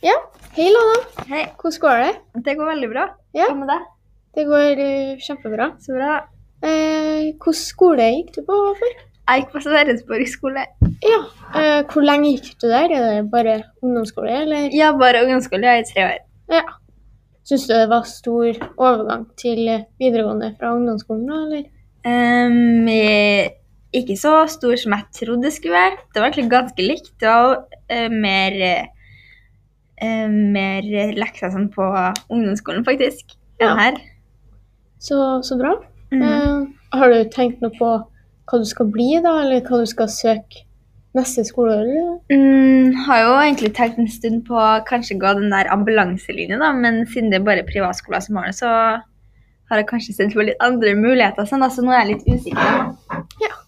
Hei, Lana. Hei. Hvordan går det? Det går veldig bra. Ja. Hva med deg? Det går eh, kjempebra. Så bra. Eh, Hvilken skole gikk du på før? Jeg gikk på Sverresborg skole. Ja. Eh, hvor lenge gikk du der? Er det bare ungdomsskole, eller? Jeg var ungdomsskole jeg er i tre år. Ja. Syns du det var stor overgang til eh, videregående fra ungdomsskolen, da, eller? Ehm, jeg- ikke så stor som jeg trodde det skulle være. Det var egentlig ganske likt. Det var eh, mer, eh, eh, mer lekser sånn på ungdomsskolen, faktisk. Ja. enn Her. Så, så bra. Mhm. Eh, har du tenkt noe på hva du skal bli, da, eller hva du skal søke neste skoleår? eller? Mm, har jo egentlig tenkt en stund på kanskje gå den der ambulanselinjen, da, men siden det er bare privatskoler som har det, altså, så har jeg kanskje sett på litt andre muligheter, sånn, da, så nå er jeg litt usikker. Da. Ja.